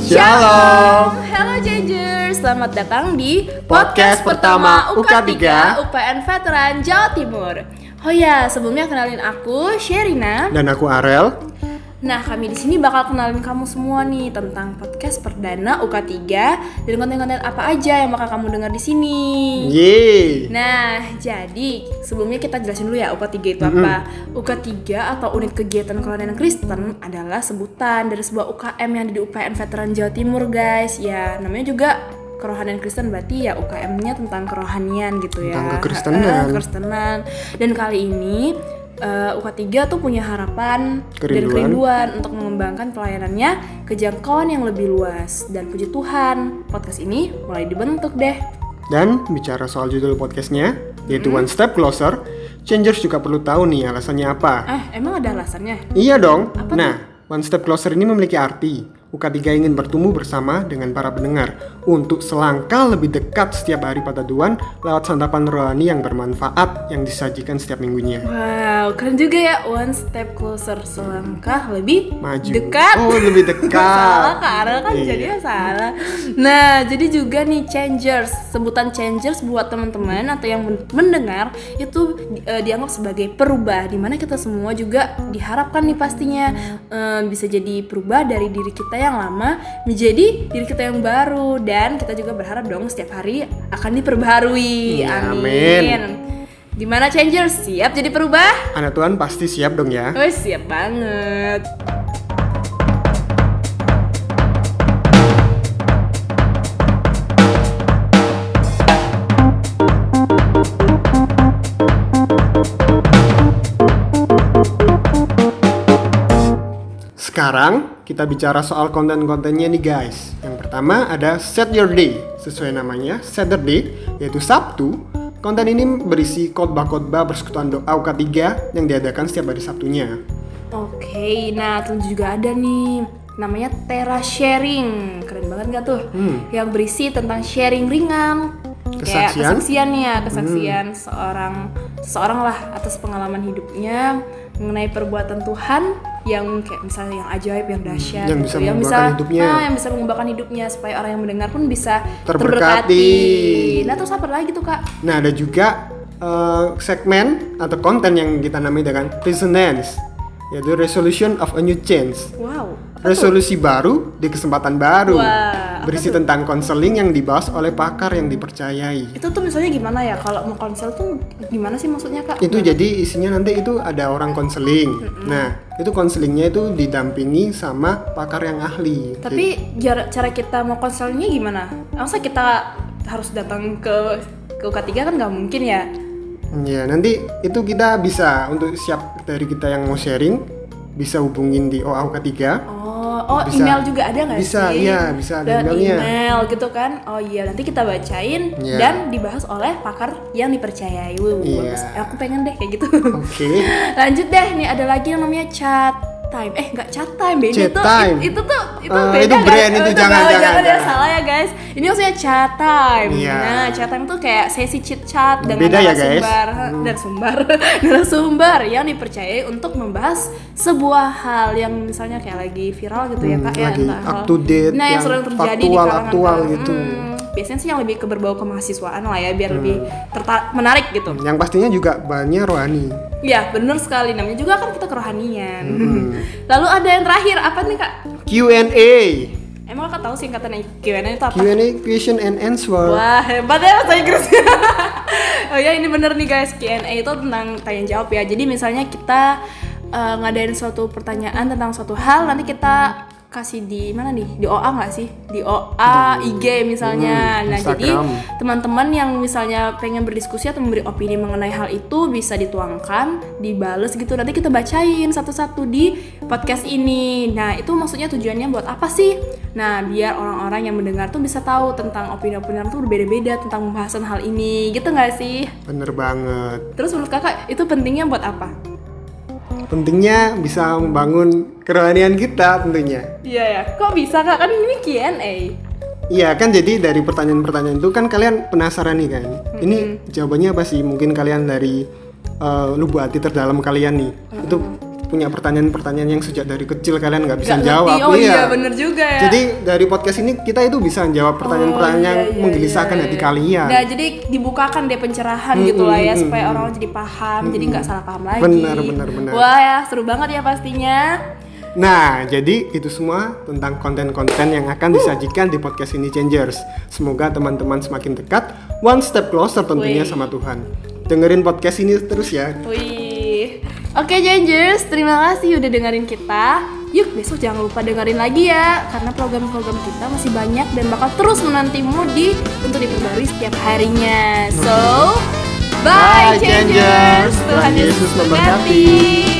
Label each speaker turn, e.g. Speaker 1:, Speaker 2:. Speaker 1: Shalom.
Speaker 2: Hello Jangers, selamat datang di
Speaker 1: Podcast pertama UK3,
Speaker 2: UPN Veteran Jawa Timur. Oh ya, sebelumnya kenalin aku Sherina.
Speaker 1: Dan aku Arel.
Speaker 2: Nah, kami di sini bakal kenalin kamu semua nih tentang podcast perdana UK3 dan konten-konten apa aja yang bakal kamu dengar di sini.
Speaker 1: Yeay.
Speaker 2: Nah, jadi sebelumnya kita jelasin dulu ya UK3 itu apa. UK3 atau Unit Kegiatan Kelolaan Kristen adalah sebutan dari sebuah UKM yang ada di UPN Veteran Jawa Timur, guys. Ya, namanya juga kerohanian Kristen berarti ya UKM-nya tentang kerohanian gitu ya.
Speaker 1: Tentang kekristenan.
Speaker 2: Eh, kekristenan. Dan kali ini eh, UK3 tuh punya harapan dan
Speaker 1: Kerinduan.
Speaker 2: kerinduan untuk mengembangkan pelayanannya ke jangkauan yang lebih luas. Dan puji Tuhan, podcast ini mulai dibentuk deh.
Speaker 1: Dan bicara soal judul podcastnya, yaitu
Speaker 2: Hmm?
Speaker 1: One Step Closer, Changers juga perlu tahu nih alasannya apa.
Speaker 2: Eh, emang ada alasannya?
Speaker 1: Iya dong.
Speaker 2: Apa
Speaker 1: nah, One Step Closer ini memiliki arti. UK3 ingin bertumbuh bersama dengan para pendengar untuk selangkah lebih dekat setiap hari pada Tuhan lewat santapan rohani yang bermanfaat yang disajikan setiap minggunya.
Speaker 2: Wow, keren juga ya One step closer Selangkah lebih
Speaker 1: Maju.
Speaker 2: dekat
Speaker 1: Oh, lebih dekat.
Speaker 2: Kan Salah Kak Arel kan
Speaker 1: Iya.
Speaker 2: jadinya salah Nah, jadi juga nih Changers Sebutan Changers buat teman-teman atau yang men- mendengar Itu di- eh, dianggap sebagai perubah Dimana kita semua juga diharapkan nih pastinya eh, Bisa jadi perubah dari diri kita yang lama Menjadi diri kita yang baru Dan kita juga berharap dong setiap hari akan diperbaharui
Speaker 1: Iya, amin.
Speaker 2: Gimana Changers? Siap jadi perubah?
Speaker 1: Anak Tuhan pasti siap dong ya.
Speaker 2: Wih siap banget
Speaker 1: Sekarang kita bicara soal konten-kontennya nih guys. Yang pertama ada Set Your Day, sesuai namanya Saturday, yaitu Sabtu. Konten ini berisi khotbah-khotbah persekutuan doa UK3 yang diadakan setiap hari Sabtunya.
Speaker 2: Oke, nah terus juga ada nih namanya Tera Sharing Keren banget gak tuh?
Speaker 1: Hmm.
Speaker 2: Yang berisi tentang sharing ringan
Speaker 1: Kesaksian? Hmm.
Speaker 2: Kayak kesaksian ya, kesaksian seorang seorang lah atas pengalaman hidupnya mengenai perbuatan Tuhan yang kayak misalnya yang ajaib, yang dahsyat,
Speaker 1: Hmm. Yang bisa
Speaker 2: gitu. yang bisa
Speaker 1: mengubahkan hidupnya.
Speaker 2: ah, yang bisa mengubahkan hidupnya supaya orang yang mendengar pun bisa
Speaker 1: Terberkati.
Speaker 2: Nah terus apa lagi tuh kak?
Speaker 1: Nah ada juga eh, segmen atau konten yang kita namai dengan Resonance, yaitu Resolution of a New Change.
Speaker 2: Wow, apa tuh?
Speaker 1: Resolusi baru di kesempatan baru.
Speaker 2: Wah, apa
Speaker 1: berisi tentang konseling yang dibahas oleh pakar yang dipercayai.
Speaker 2: itu tuh misalnya gimana ya kalau mau konsel tuh gimana sih maksudnya kak?
Speaker 1: itu jadi isinya nanti itu ada orang konseling.
Speaker 2: Hmm.
Speaker 1: Nah, itu konselingnya itu didampingi sama pakar yang ahli. Jadi-
Speaker 2: tapi jar- cara kita mau konselnya gimana? Masa kita harus datang ke ke UK3 kan nggak mungkin ya?
Speaker 1: ya nanti itu kita bisa untuk siap dari kita yang mau sharing bisa hubungin di OAUK 3.
Speaker 2: Oh, oh
Speaker 1: Bisa.
Speaker 2: email juga ada nggak sih?
Speaker 1: Bisa, iya, bisa ada
Speaker 2: Dan
Speaker 1: emailnya.
Speaker 2: email gitu kan? Oh iya nanti kita bacain
Speaker 1: Iya.
Speaker 2: dan dibahas oleh pakar yang dipercayai. Wuh,
Speaker 1: Iya.
Speaker 2: bagus. Aku pengen deh kayak gitu.
Speaker 1: Oke.
Speaker 2: Lanjut deh, nih ada lagi yang namanya chat time. Eh, nggak chat time, beda
Speaker 1: Chat
Speaker 2: tuh.
Speaker 1: time.
Speaker 2: It- itu tuh itu
Speaker 1: Eh,
Speaker 2: beda
Speaker 1: itu
Speaker 2: guys.
Speaker 1: brand,
Speaker 2: Eh,
Speaker 1: itu jangan,
Speaker 2: jangan,
Speaker 1: jangan,
Speaker 2: ya,
Speaker 1: jangan.
Speaker 2: salah ya guys. Ini maksudnya chat time.
Speaker 1: Iya.
Speaker 2: Nah, chat time tuh kayak sesi chit chat dengan
Speaker 1: Beda ya, guys.
Speaker 2: narasumber dan sumber narasumber yang dipercayai untuk membahas sebuah hal yang misalnya kayak lagi viral gitu ya
Speaker 1: Hmm,
Speaker 2: kak ya
Speaker 1: lagi
Speaker 2: entah
Speaker 1: up
Speaker 2: hal-
Speaker 1: to date,
Speaker 2: nah yang
Speaker 1: yang
Speaker 2: sering terjadi di
Speaker 1: faktual,
Speaker 2: kalangan
Speaker 1: aktual
Speaker 2: kalangan-
Speaker 1: gitu. Hmm.
Speaker 2: Hmm, biasanya sih yang lebih ke berbau kemahasiswaan lah ya biar lebih tertarik menarik gitu
Speaker 1: Yang pastinya juga banyak rohani.
Speaker 2: Ya bener sekali namanya juga kan kita kerohanian. Lalu ada yang terakhir apa nih kak?
Speaker 1: Q&A.
Speaker 2: Emang kakak tahu singkatan Q&A itu apa?
Speaker 1: Q&A question and answer.
Speaker 2: Wah hebat ya bahasa Inggris. oh ya ini bener nih guys Q&A itu tentang tanya jawab ya. Jadi misalnya kita eh, ngadain suatu pertanyaan tentang suatu hal nanti kita kasih di mana nih di OA nggak sih di OA IG misalnya
Speaker 1: Hmm,
Speaker 2: nah jadi
Speaker 1: Instagram.
Speaker 2: teman-teman yang misalnya pengen berdiskusi atau memberi opini mengenai hal itu bisa dituangkan, dibales gitu. Nanti kita bacain satu-satu di podcast ini. Nah, itu maksudnya tujuannya buat apa sih? Nah, biar orang-orang yang mendengar tuh bisa tahu tentang opini-opini orang tuh berbeda-beda tentang pembahasan hal ini. Gitu nggak sih?
Speaker 1: Bener banget.
Speaker 2: Terus menurut Kakak itu pentingnya buat apa?
Speaker 1: Pentingnya bisa membangun kerohanian kita tentunya.
Speaker 2: Iya ya. Kok bisa Kak? Kan ini Q&A.
Speaker 1: Iya kan jadi dari pertanyaan-pertanyaan itu kan kalian penasaran nih kan. Ini jawabannya apa sih? Mungkin kalian dari eh, lubuk hati terdalam kalian nih. Itu punya pertanyaan-pertanyaan yang sejak dari kecil kalian nggak bisa
Speaker 2: Nggak
Speaker 1: jawab.
Speaker 2: ngerti. Oh iya, bener juga ya.
Speaker 1: Jadi dari podcast ini kita itu bisa jawab pertanyaan-pertanyaan yang
Speaker 2: Oh, iya, iya,
Speaker 1: menggelisahkan
Speaker 2: iya.
Speaker 1: hati kalian.
Speaker 2: Nah, jadi dibukakan deh pencerahan gitu lah ya supaya orang jadi paham, jadi nggak salah paham lagi.
Speaker 1: Benar, benar, benar.
Speaker 2: Wah, ya seru banget ya pastinya.
Speaker 1: Nah, jadi itu semua tentang konten-konten yang akan disajikan di podcast ini Changers. Semoga teman-teman semakin dekat, one step closer tentunya
Speaker 2: Wih.
Speaker 1: sama Tuhan. Dengerin podcast ini terus ya.
Speaker 2: Wih. Oke, Jangers, terima kasih udah dengerin kita. Yuk, besok jangan lupa dengerin lagi ya karena program-program kita masih banyak dan bakal terus menantimu di untuk diperbarui setiap harinya. So,
Speaker 1: Bye,
Speaker 2: bye,
Speaker 1: Changers.
Speaker 2: Changers. Tuhan Yesus memberkati.